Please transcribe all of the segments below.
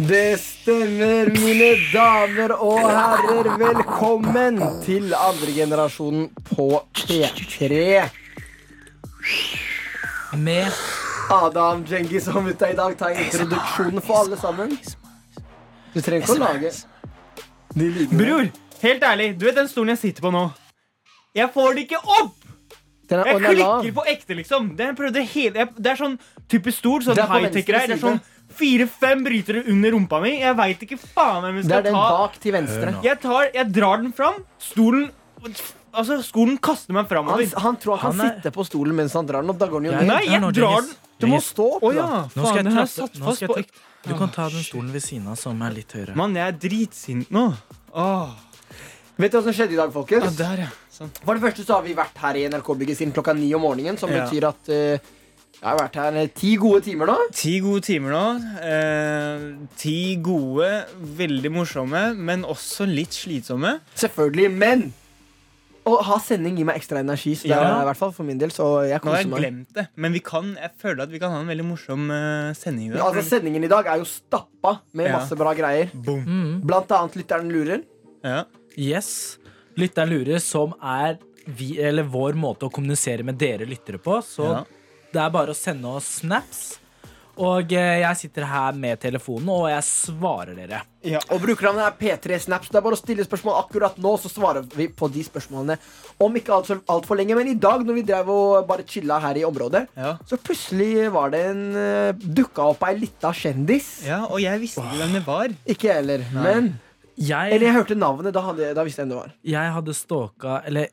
Det stemmer, mine damer og herrer. Velkommen til andregenerasjonen på P3. Med Adam Djengis og mutta i dag tar introduksjonen for alle sammen. Du trenger ikke å lage de lydene. Bror, helt ærlig, du vet den stolen jeg sitter på nå? Jeg får det ikke opp! Den er, Jeg og den er lav. klikker på ekte, liksom. Den prøvde hele, jeg, det er sånn type stol, sånn Det er på high-tech-greier. Det er venstre sånn fire-fem brytere under rumpa mi. Jeg veit ikke faen hvem jeg Det skal er den ta. bak til venstre. Jeg, tar, jeg drar den fram. Stolen Altså, skolen kaster meg Han, framover. han tror han kan Han er- sitte på stolen mens han drar den opp. Da går den jo ned. Jeg- Nei, jeg Nå, drar Dennis. den. Du må stå opp, Å ja. da. Nå skal Faen, jeg den er trappe- satt nå fast skal jeg på tra- ekte. Du kan ta den stolen ved siden av som er litt høyere. Mann, jeg er dritsint nå. Åh. Vet du hva som skjedde i dag, folkens? Ja, der, ja. Sånn. For det første så har vi vært her i NRK-bygget siden klokka ni om morgenen, som Ja. betyr at eh, jeg har vært her eh, ti gode timer nå. Ti gode timer nå. Eh, ti gode, veldig morsomme, men også litt slitsomme. Selvfølgelig, men å ha sending gir meg ekstra energi, så det Ja. er i hvert fall for min del, så jeg Nå har jeg koser meg. glemt det, men vi kan, jeg føler at vi kan ha en veldig morsom eh, sending i dag. Altså, sendingen i dag er jo stappa med Ja. masse bra greier. Boom. Mm. Blant annet Lytteren lurer. Ja. Yes. Lytteren lurer, som er vi, eller vår måte å kommunisere med dere lyttere på. Så Ja. det er bare å sende oss snaps. Og eh, jeg sitter her med telefonen, og jeg svarer dere. Og brukernavnet er P3 Snaps. Det er bare å stille spørsmål akkurat nå, så svarer vi på de spørsmålene. Om ikke altfor alt altfor lenge, men i dag når vi drev og bare chilla her i området, Ja. så plutselig var det en eh, dukka opp ei lita kjendis. ja, og jeg visste ikke hvem det var. Ikke jeg heller, men Eller Jeg, jeg hørte navnet, da, hadde, da visste jeg hvem det var. jeg hadde stalka Eller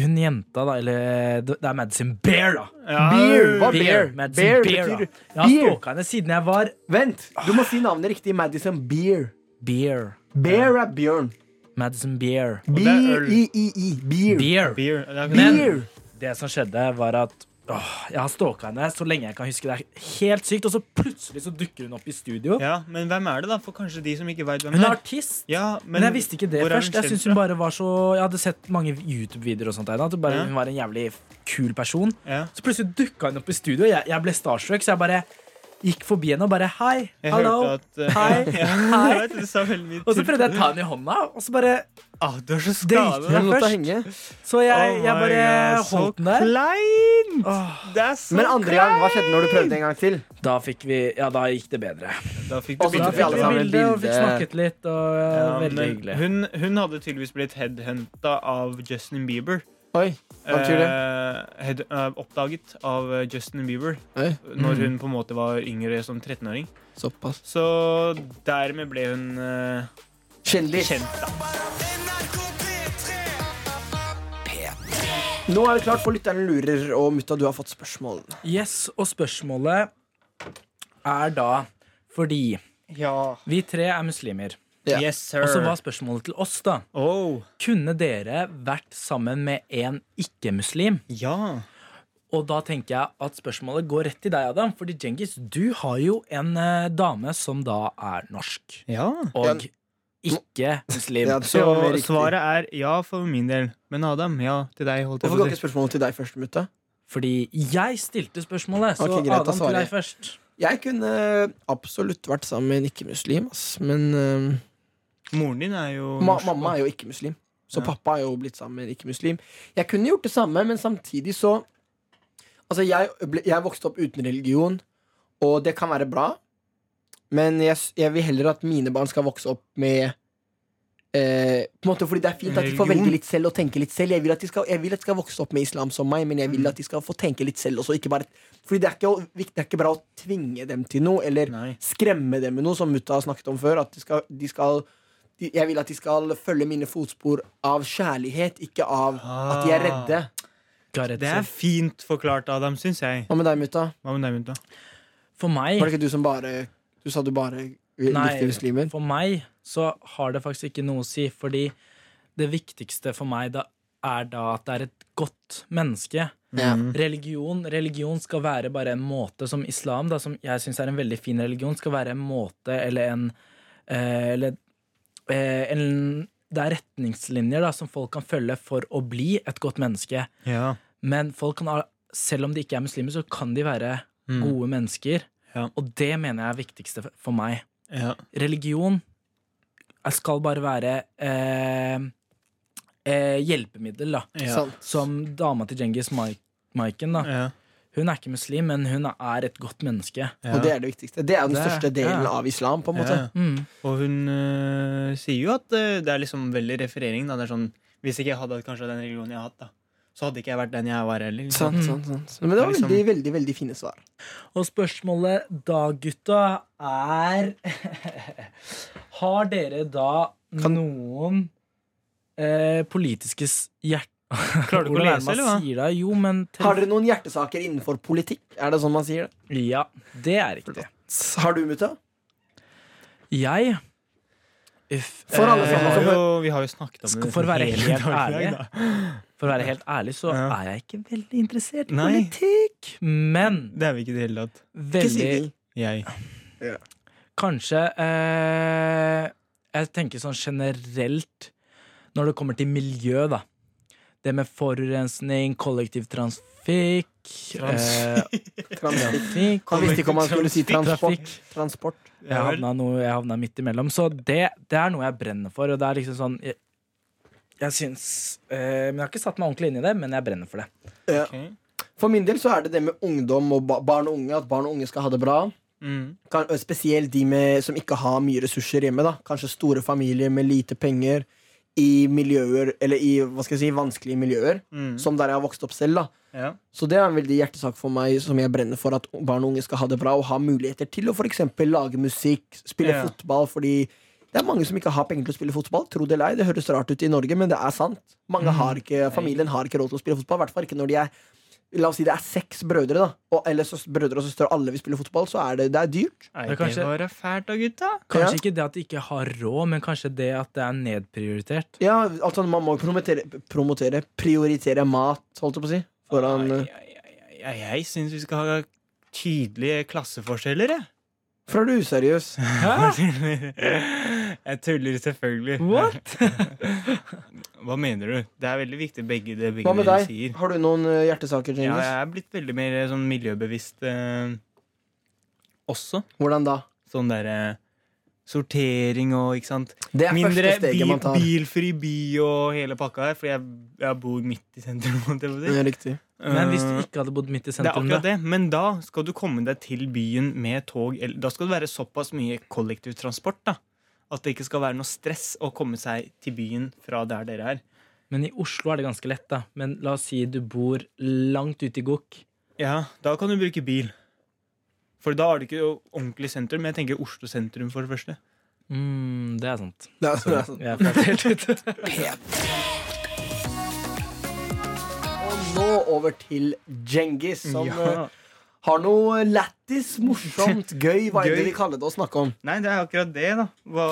hun jenta, da. Eller det det er Madison Bear, da. Beer, hva beer? Bear, Madison Bear, betyr da. Jeg har beer. stalka henne siden jeg var Vent, du må si navnet riktig. Madison Beer. Bear. Bear er bjørn. Madison Bear. det er øl. B-i-i-i. Beer. Bear. Beer. Det er- Men- Beer. Det som skjedde, var at åh, jeg har stalka henne så lenge jeg kan huske. Det er helt sykt, og så plutselig så dukker hun opp i studio. Ja, men hvem er det, da? For kanskje de som ikke veit hvem Hun det er er. artist, Ja, men, jeg visste ikke det hvor er hun først. Jeg kjent synes hun fra? bare var så Jeg hadde sett mange YouTube-videoer og sånt av henne. At hun bare, Ja. hun var en jævlig kul person. Ja. Så plutselig dukka hun opp i studio, og jeg, jeg ble starstruck, så jeg bare gikk forbi henne og bare Hei, Jeg hallo. hørte at eh, Hei. ja, Hei. jeg vet, du sa veldig mye Og så til. prøvde jeg å ta henne i hånda, og så bare ah, Du er så Det gikk skadet. jo. Jeg lot det Først. henge. Så jeg, Oh jeg my bare God, så holdt den der. Kleint! Åh, Det er så Men andre gang, hva skjedde når du prøvde en gang til? da fikk vi Ja, da gikk det bedre. Da fikk du Og så Da tok vi alle fikk vi sammen bilde og fikk bilde. snakket litt, og ja, Ja, veldig men hyggelig. hun, hun hadde tydeligvis blitt headhunta av Justin Bieber. Oi, hva betyr det? Eh, head, eh, oppdaget av eh, Justin Bieber Oi, når Mm. hun på en måte var yngre som 13-åring. såpass. Så dermed ble hun eh, Kjendis. kjent, da. Nå er det klart for Lytteren lurer, og mutta, du har fått spørsmål. Yes, og spørsmålet er da fordi vi tre er muslimer. Ja. Yes, sir. Og så var spørsmålet til oss, da. Oh, Kunne dere vært sammen med en ikke-muslim? ja. Og da tenker jeg at spørsmålet går rett til deg, Adam. Fordi Djengis, du har jo en eh, dame som da er norsk. ja. Og ikke muslim. Ja, det Så var mer riktig. svaret er ja for min del. Men Adam, ja til deg, holdt jeg Hvorfor på går å ikke si. spørsmålet til deg først, mutta? Fordi jeg stilte spørsmålet, så Ok, greit, da Adam svarer til jeg. deg først. Jeg kunne absolutt vært sammen med en ikke-muslim, ass. Men eh, Moren din er jo Ma norsk, mamma da. er jo ikke-muslim, så Ja. pappa er jo blitt sammen med en ikke-muslim. Jeg kunne gjort det samme, men samtidig så Altså, jeg, ble, jeg vokste opp uten religion, og det kan være bra, men jeg, s- jeg vil heller at mine barn skal vokse opp med eh, på en måte Fordi det er fint at de får Religion. velge litt selv og tenke litt selv. Jeg vil at de skal, jeg vil at de skal vokse opp med islam som meg, men jeg vil Mm. at de skal få tenke litt selv også. Ikke bare, fordi det er ikke, å- det er ikke bra å tvinge dem til noe, eller Nei. skremme dem med noe, som mutta har snakket om før. At de skal, de skal de, Jeg vil at de skal følge mine fotspor av kjærlighet, ikke av at Ah. de er redde. Gareth, Det er fint forklart, Adam, syns jeg. Hva med deg, mutta? Hva med deg, Munta? For meg Var det ikke du som bare Du sa du bare likte muslimer? for meg så har det faktisk ikke noe å si, fordi det viktigste for meg da, er da at det er et godt menneske. Ja. Mm, Religion, religion skal være bare en måte som islam, da, som jeg syns er en veldig fin religion, skal være en måte eller en eh, Eller eh, en Det er retningslinjer da, som folk kan følge for å bli et godt menneske. Ja. Men folk kan, ha- selv om de ikke er muslimer, så kan de være Mm. gode mennesker. Ja. Og det mener jeg er viktigste for- for meg. Ja. Religion skal bare være eh, eh, hjelpemiddel, da. Ja. Sant. Som dama til Djengis Maiken, da. Ja. Hun er ikke muslim, men hun er et godt menneske. Ja. Og det er det viktigste. Det er den Det er- største delen ja. av islam, på en måte. Ja. Mm. Og hun øh, sier jo at øh, det er liksom veldig referering. Da. Det er sånn, hvis ikke jeg hadde hatt kanskje den religionen jeg har hatt, da, så hadde ikke jeg vært den jeg var heller. Sant, Liksom. sant, sant. Men det var Liksom- veldig, veldig, veldig fine svar. Og spørsmålet da, gutta, er Har dere da Kan- noen eh, politiske hjerte... Klarer du ikke å lese, eller hva? Sier det? Jo, men til- Har dere noen hjertesaker innenfor politikk? Er det sånn man sier det? Ja, det er riktig. Har du, mutta? Jeg Uff, For alle Vi, sammen eh, har jo, vi har jo snakket om Skal- det nesten for å være hele helt dagen i ærlig. dag, da. For å være helt ærlig, så Ja. er jeg ikke veldig interessert i Nei. politikk. Men Det er vi ikke i det hele tatt. Ikke si veldig det. Jeg. Kanskje eh, Jeg tenker sånn generelt når det kommer til miljø, da. Det med forurensning, kollektivtrafikk eh, Transport. Trafikk. Han visste ikke om han skulle si transport. Trafikk. transport. Jeg havna, noe, jeg havna midt imellom. Så det, det er noe jeg brenner for. Og det er liksom sånn Jeg, jeg syns eh, Men jeg har ikke satt meg ordentlig inn i det, men jeg brenner for det. Ja. Ok. For min del så er det det med ungdom og ba barn og unge, at barn og unge skal ha det bra. Mm. kan, og spesielt de med, som ikke har mye ressurser hjemme. da Kanskje store familier med lite penger i miljøer Eller i hva skal jeg si, vanskelige miljøer, Mm. som der jeg har vokst opp selv. da Ja. Så det er en veldig hjertesak for meg, som jeg brenner for at barn og unge skal ha det bra og ha muligheter til å for eksempel lage musikk, spille Ja. fotball, fordi det er mange som ikke har penger til å spille fotball. Tro det eller ei, det høres rart ut i Norge, men det er sant. Mm. Mange har ikke, Familien har ikke råd til å spille fotball, i hvert fall ikke når de er La oss si det er seks brødre, da. Og, eller søs, brødre og søstre, og alle vil spille fotball, så er det, det er dyrt. Nei, Det det er kanskje- var da fælt da, gutta. Kanskje Ja. ikke det at de ikke har råd, men kanskje det at det er nedprioritert. Ja, altså man må jo promotere, promotere prioritere mat, holdt jeg på å si. Foran Ai, eh, ai, ai, ai, Jeg syns vi skal ha tydelige klasseforskjeller, jeg. For er du useriøs? Hæ? Jeg tuller selvfølgelig. What? Hva mener du? Det er veldig viktig, begge det begge Hva med dere deg? sier. Har du noen eh, hjertesaker, Ja, James? jeg er blitt veldig mer sånn miljøbevisst eh, også. Hvordan da? Sånn derre sortering og ikke sant. Det er Mindre første steget bil, man tar. bilfri by og hele pakka her, for jeg, jeg bor midt i sentrum. holdt jeg på å si. Ja, riktig. Men hvis du Eh, ikke hadde bodd midt i det er sentrum, akkurat da? det, men da skal du komme deg til byen med tog. eller- Da skal det være såpass mye kollektivtransport da, at det ikke skal være noe stress å komme seg til byen fra der dere er. Men i Oslo er det ganske lett, da. Men la oss si du bor langt ute i gokk. Ja, da kan du bruke bil. For da har du ikke jo ordentlig sentrum. Men jeg tenker Oslo sentrum, for det første. Mm, det er sant. Det er, det er sånn. Jeg er falt helt ut. Og nå over til Djengis, som Ja. eh, har noe lættis, morsomt, gøy. Hva er det Gøy. vi kaller det å snakke om? Nei, det er akkurat det, da. Hva,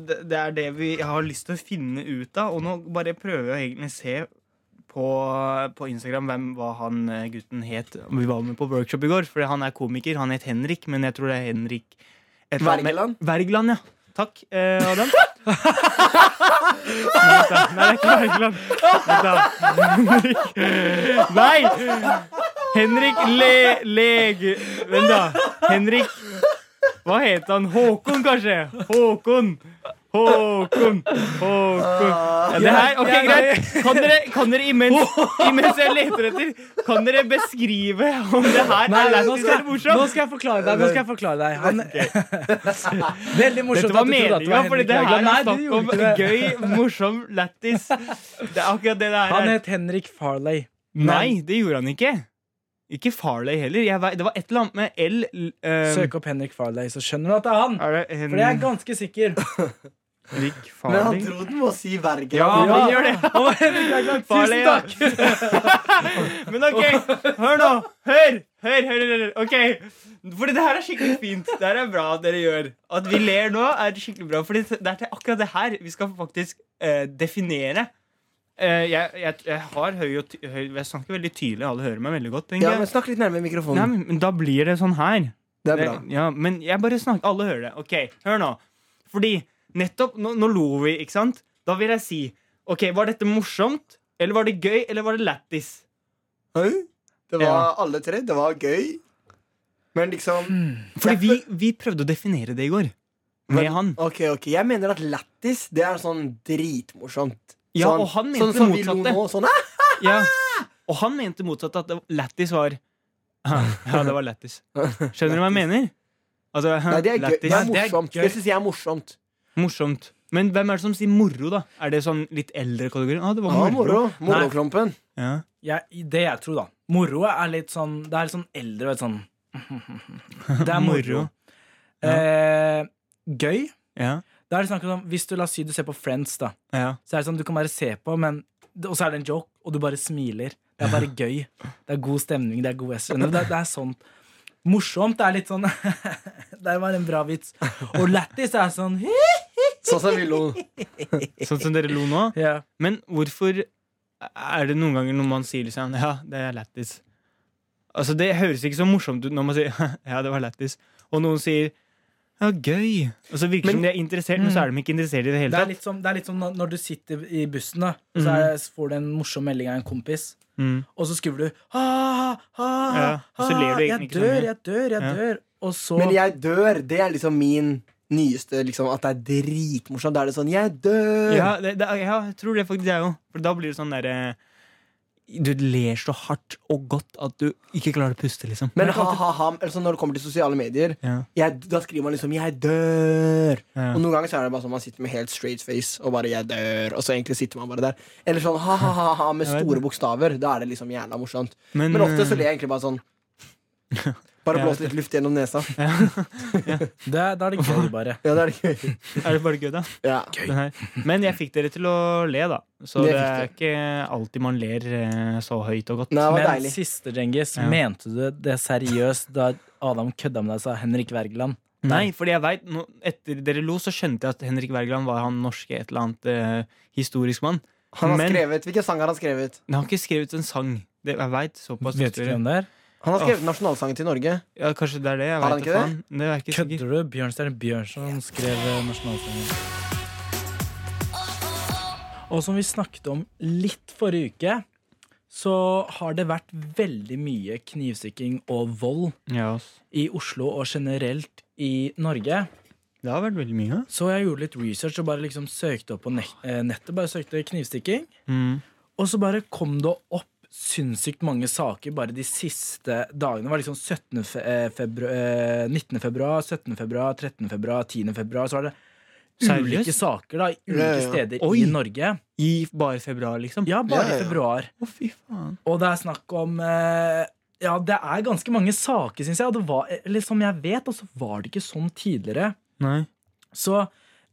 det, det er det vi har lyst til å finne ut av. Og nå bare prøver jeg egentlig å se på, på Instagram hvem hva han eh, gutten het. Vi var med på workshop i går, for han er komiker. Han het Henrik, men jeg tror det er Henrik et eller annet med- Wergeland? Wergeland, ja. Takk, eh, Adam. Vent da. Nei, det er ikke Wergeland. Vent da. Henrik. Nei! Henrik Le... Lege... Vent, da. Henrik Hva het han? Håkon, kanskje? Håkon. Håkon. Håkon. Ja, det her, ok, greit. Kan dere, kan dere imens, imens jeg leter etter, kan dere beskrive om det her Nei, nå er lættis skal, jeg- eller nå morsomt? skal jeg forklare deg. Nå skal jeg forklare deg. Han, veldig morsomt Dette at du trodde at var det meninga, var for Henrik det her Wergeland. Nei, er du snakk om gjorde ikke det. gøy, morsom lættis. Det er akkurat det det her Han er. het Henrik Farley. Nei, det gjorde han ikke. Ikke Farley heller. Jeg vet, det var et eller annet med L eh, Søk opp Henrik Farley, så skjønner du at det er han. Er For det det er jeg Henrik ganske sikker. Men han Farley? tror den må si Ja, Wergeland. han gjør det. Han var Henrik Wergeland. Farley, Tusen ja. takk! Men ok, hør nå. Hør! Hør, hør, hør. hør. Ok. For det her er skikkelig fint. Det her er bra at dere gjør. At vi ler nå, er skikkelig bra. For det er til akkurat det her vi skal faktisk eh, definere. Eh, jeg, jeg, jeg har høy og ty høy Jeg snakker veldig tydelig, alle hører meg veldig godt. tenker Ja, jeg. men Snakk litt nærmere Nei, mikrofonen. men, men da blir det sånn her. Det er Det, bra. ja, men jeg bare snakker Alle hører det. Ok, hør nå. Fordi nettopp Nå, nå lo vi, ikke sant? Da vil jeg si OK, var dette morsomt? Eller var det gøy? Eller var det lættis? Oi, Det var Ja. alle tre. Det var gøy. Men liksom Fordi vi, vi prøvde å definere det i går. med han. Ok, ok, Jeg mener at lættis, det er sånn dritmorsomt. Ja, sånn, og han mente sånn som vi lo motsatte. nå, sånn, «Ah!» Ja. Og han mente motsatt at det var- lættis var Ja, det var lættis. Skjønner du hva jeg mener? Altså, Nei, det er gøy. Det lættis. er det er morsomt. gøy. Det syns jeg er morsomt. Morsomt. Men hvem er det som sier moro, da? Er det sånn litt eldre kategori? Ah, det var Ja, moro. moro. Moroklumpen. Ja. Jeg, det jeg tror, da. Moro er litt sånn Det er litt sånn eldre og litt sånn Det er moro. Moro. Eh, gøy. Ja. Det er det snakk om, hvis du la oss si du ser på Friends, da. Ja. Så er det sånn, du kan bare se på, men Og så er det en joke, og du bare smiler. Det er bare gøy. Det er god stemning, det er god SNL. Det, er- det er sånn morsomt. Det er litt sånn Det var en bra vits. Og lættis er sånn Sånn som vi lo. Sånn som dere lo nå. ja. Men hvorfor er det noen ganger når man sier liksom Ja, det er lættis. Altså, det høres ikke så morsomt ut når man sier Ja, det var lættis. Og noen sier ja, gøy. Og så virker det som de er interessert, men så er de ikke interessert i det hele Det er tatt. litt som, det er litt som når- når du sitter i bussen, da, så, er, så får du en morsom melding av en kompis. Mm. Og så skriver du ha, ha, Ja, og så ler du Jeg egentlig ikke så dør, mye. jeg dør, jeg Ja. dør. Og så Men jeg dør, det er liksom min nyeste liksom, At det er dritmorsomt. Da er det sånn Jeg dør! Ja, det, det, ja, jeg tror det faktisk jeg òg. For da blir det sånn derre Du ler så hardt og godt at du ikke klarer å puste, liksom. Men ha-ha-ha, altså når det kommer til sosiale medier, Ja. jeg, da skriver man liksom 'jeg dør'. Ja. Og noen ganger så er det bare sånn man sitter med helt straight face og bare 'jeg dør', og så egentlig sitter man bare der. Eller sånn ha-ha-ha med Jeg vet store bokstaver. Da er det liksom jævla morsomt. Men, eh, Men ofte så ler jeg egentlig bare sånn. Bare Jeg blås litt luft gjennom nesa. det, Da er det gøy, bare. Ja, det er det gøy. eh, Er det bare gøy, da? Ja. Den her. Men jeg fikk dere til å le, da. Så Det fikk det er ikke alltid man ler eh, så høyt og godt. Nei, det var Men deilig. siste, Djengis, Ja. mente du det seriøst da Adam kødda med deg og sa Henrik Wergeland? Nei, fordi jeg vet, nå- Etter dere lo, så skjønte jeg at Henrik Wergeland var han norske et eller annet eh, historisk mann. Han har Men- skrevet, Hvilken sang har han skrevet? Men han har ikke skrevet en sang. Det, jeg vet, såpass Vet ikke hvem det er. Han har skrevet nasjonalsangen til Norge. Ja, Kanskje det er det. Har Jeg vet, han ikke da faen. det? er jeg ikke sikker. Kødder du? Bjørnstjerne Bjørnson skrev eh, nasjonalsangen. Og som vi snakket om litt forrige uke, så har det vært veldig mye knivstikking og vold Ja, ass. i Oslo og generelt i Norge. det har vært veldig mye. da. Så jeg gjorde litt research og bare liksom søkte opp på nek- eh, nettet. Bare søkte knivstikking. Mm. Og så bare kom det opp sinnssykt mange saker bare de siste dagene. Det var liksom 17. Fe eh, februar, eh, 19. februar, 17. februar, 13. februar, 10. februar. Så var det Seriøst? ulike saker da, i ulike Ja, ja, ja. steder Oi. i Norge. I bare februar, liksom? Ja, bare Ja, ja, ja. februar. Å, fy faen. Og det er snakk om eh, Ja, det er ganske mange saker, syns jeg. Og det var, eller som jeg vet, og så var det ikke sånn tidligere. Nei. Så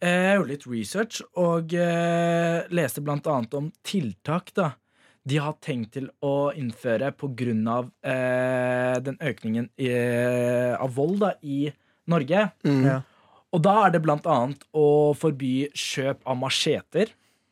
eh, jeg gjorde litt research og eh, leste blant annet om tiltak da, de har tenkt til å innføre pga. Eh, den økningen i, eh, av vold da, i Norge. Mm. Ja. Og da er det blant annet å forby kjøp av macheter.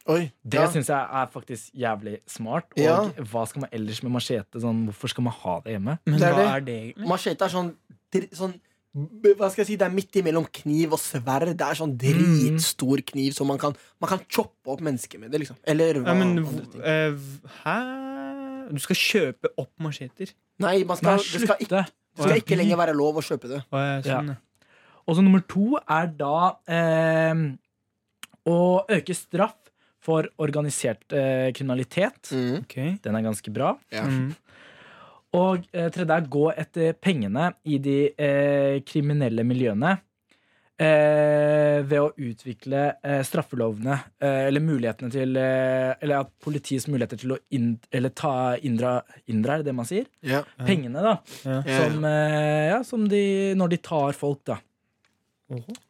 Oi. Det ja. syns jeg er faktisk jævlig smart. Og Ja. hva skal man ellers med machete? Sånn, hvorfor skal man ha det hjemme? Men Det er hva det. er det egentlig? Machete er sånn, dr- sånn b- Hva skal jeg si, Det er midt imellom kniv og sverd. Det er sånn Mm. dritstor kniv som man kan Man kan choppe opp mennesker med det, liksom. Eller hva Ja, men, andre ting. hv- eh, hv- hæ? Du skal kjøpe opp macheter? Nei, man skal, Nei, det skal, ikke, slutte! det skal ikke lenger være lov å kjøpe det. Å, ja, sånn, ja. Og så nummer to er da eh, å øke straff for organisert eh, kriminalitet. Mm. Ok. Den er ganske bra. Ja. Mm. Og eh, tredje er gå etter pengene i de eh, kriminelle miljøene. Eh, ved å utvikle eh, straffelovene, eh, eller mulighetene til eh, Eller at politiets muligheter til å inn, eller ta inndra Inndra, er det det man sier? Ja. Pengene, da. Ja. Ja, ja. Som, eh, ja, som de Når de tar folk, da.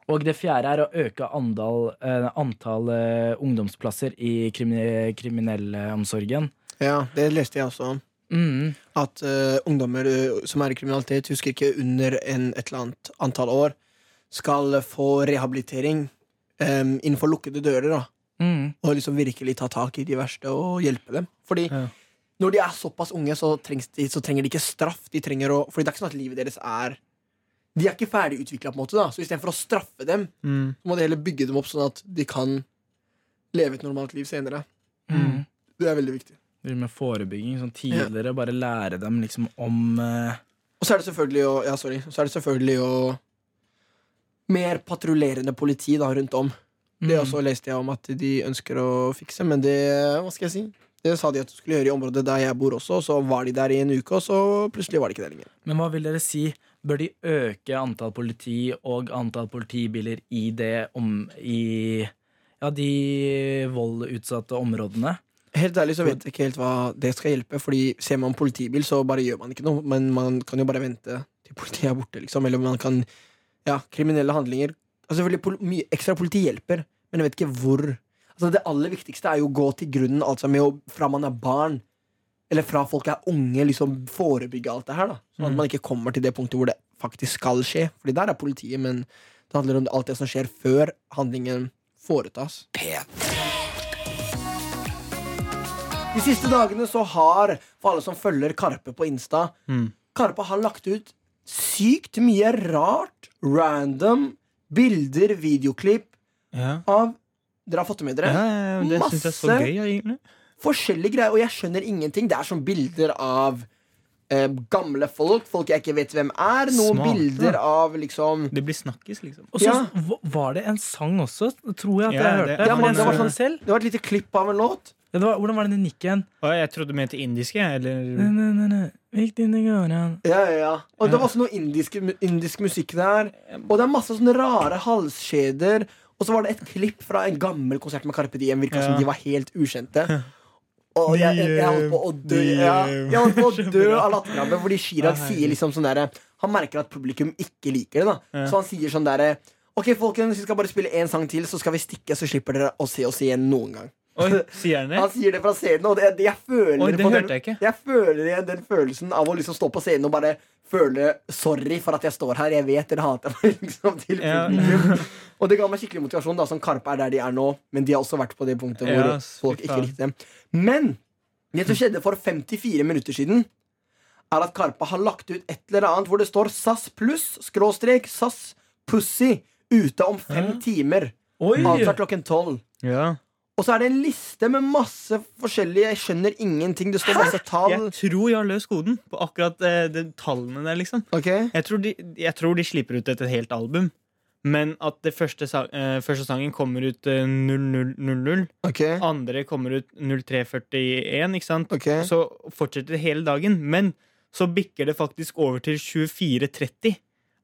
Og det fjerde er å øke andal, eh, antall eh, ungdomsplasser i krimi- kriminellomsorgen. ja, det leste jeg også om. Mm. At eh, ungdommer eh, som er i kriminalitet, husker ikke under en, et eller annet antall år, skal få rehabilitering eh, innenfor lukkede dører. da Mm. Og liksom virkelig ta tak i de verste og hjelpe dem. Fordi Ja. når de er såpass unge, så, trengs de, så trenger de ikke straff. De trenger å, fordi det er ikke sånn at livet deres er De er ikke ferdigutvikla, på en måte. da Så istedenfor å straffe dem, Mm. så må de heller bygge dem opp sånn at de kan leve et normalt liv senere. Mm. Det er veldig viktig. Driver med forebygging sånn tidligere. Bare lære dem liksom om eh, Og så er det selvfølgelig å Ja, sorry. Så er det selvfølgelig å mer patruljerende politi da rundt om. Mm. Det også leste jeg om at de ønsker å fikse, men det hva skal jeg si? Det sa de at de skulle gjøre i området der jeg bor også, og så var de der i en uke, og så plutselig var de ikke der lenger. Men hva vil dere si? Bør de øke antall politi og antall politibiler i det om i ja, de voldutsatte områdene? Helt ærlig så vet jeg ikke helt hva det skal hjelpe, Fordi ser man politibil, så bare gjør man ikke noe. Men man kan jo bare vente til politiet er borte, liksom. Eller man kan Ja, kriminelle handlinger Altså selvfølgelig pol mye ekstra politi hjelper, men jeg vet ikke hvor. Altså Det aller viktigste er jo å gå til grunnen, altså med å fra man er barn. Eller fra folk er unge, liksom forebygge alt det her. da Sånn at man ikke kommer til det punktet hvor det faktisk skal skje. Fordi der er politiet, men det handler om alt det som skjer før handlingen foretas. De siste dagene så har, for alle som følger Karpe på Insta Mm. Karpe har lagt ut sykt mye rart, random bilder, videoklipp Ja. av Dere har fått det med dere? Ja, ja, men det syns jeg er så Masse. gøy, ja, egentlig. Forskjellige greier, og jeg skjønner ingenting. Det er sånn bilder av eh, gamle folk, folk jeg ikke vet hvem er. Noen Smarte. bilder av liksom Det blir snakkis, liksom. Og så Ja. v- var det en sang også, tror jeg at Ja, jeg det- hørte. Ja, Var men en det var sang sånn- selv? Det var et lite klipp av en låt. Ja, det var, hvordan var den den gikk igjen? Å, jeg trodde du mente indiske, jeg, Nei, eller nei, nei, nei. Viktig det går an. Ja, ja, ja. Og det var også noe indisk, indisk musikk der. Og det er masse sånne rare halskjeder. Og så var det et klipp fra en gammel konsert med Carpe Diem. Virka som Ja. de var helt ukjente. Og jeg, jeg, jeg holdt på å dø De, eh, ja, de, eh, Jeg holdt på å dø av latterkrampe, fordi Chirag Nei. sier liksom sånn derre Han merker at publikum ikke liker det, da. Ja. Så han sier sånn derre Ok, folkens, vi skal bare spille én sang til, så skal vi stikke, så slipper dere å se oss igjen noen gang. Oi, sier han det? Han sier det fra scenen, og det, det, jeg føler Eh? Oi, det på hørte jeg ikke. Jeg føler igjen den følelsen av å liksom stå på scenen og bare føle sorry for at jeg står her. Jeg vet dere hater meg. Liksom, til Ja. publikum. Og det ga meg skikkelig motivasjon, da som Karpe er der de er nå. Men de har også vært på det punktet hvor Ja, ass, fy folk ikke faen. likte dem. Men det som skjedde for 54 minutter siden, er at Karpe har lagt ut et eller annet hvor det står SAS pluss skråstrek SAS pussy ute om fem timer. Oi! Altså klokken tolv. Ja. Og så er det en liste med masse forskjellige Jeg skjønner ingenting. Det står masse tall. Jeg tror jeg har løst koden på akkurat eh, de tallene der, liksom. Ok Jeg tror, de, jeg tror de slipper ut et helt album. Men at det første, sa- eh, første sangen kommer ut eh, 0000, Ok, andre kommer ut 0341, ikke sant? ok Så fortsetter det hele dagen. Men så bikker det faktisk over til 24.30,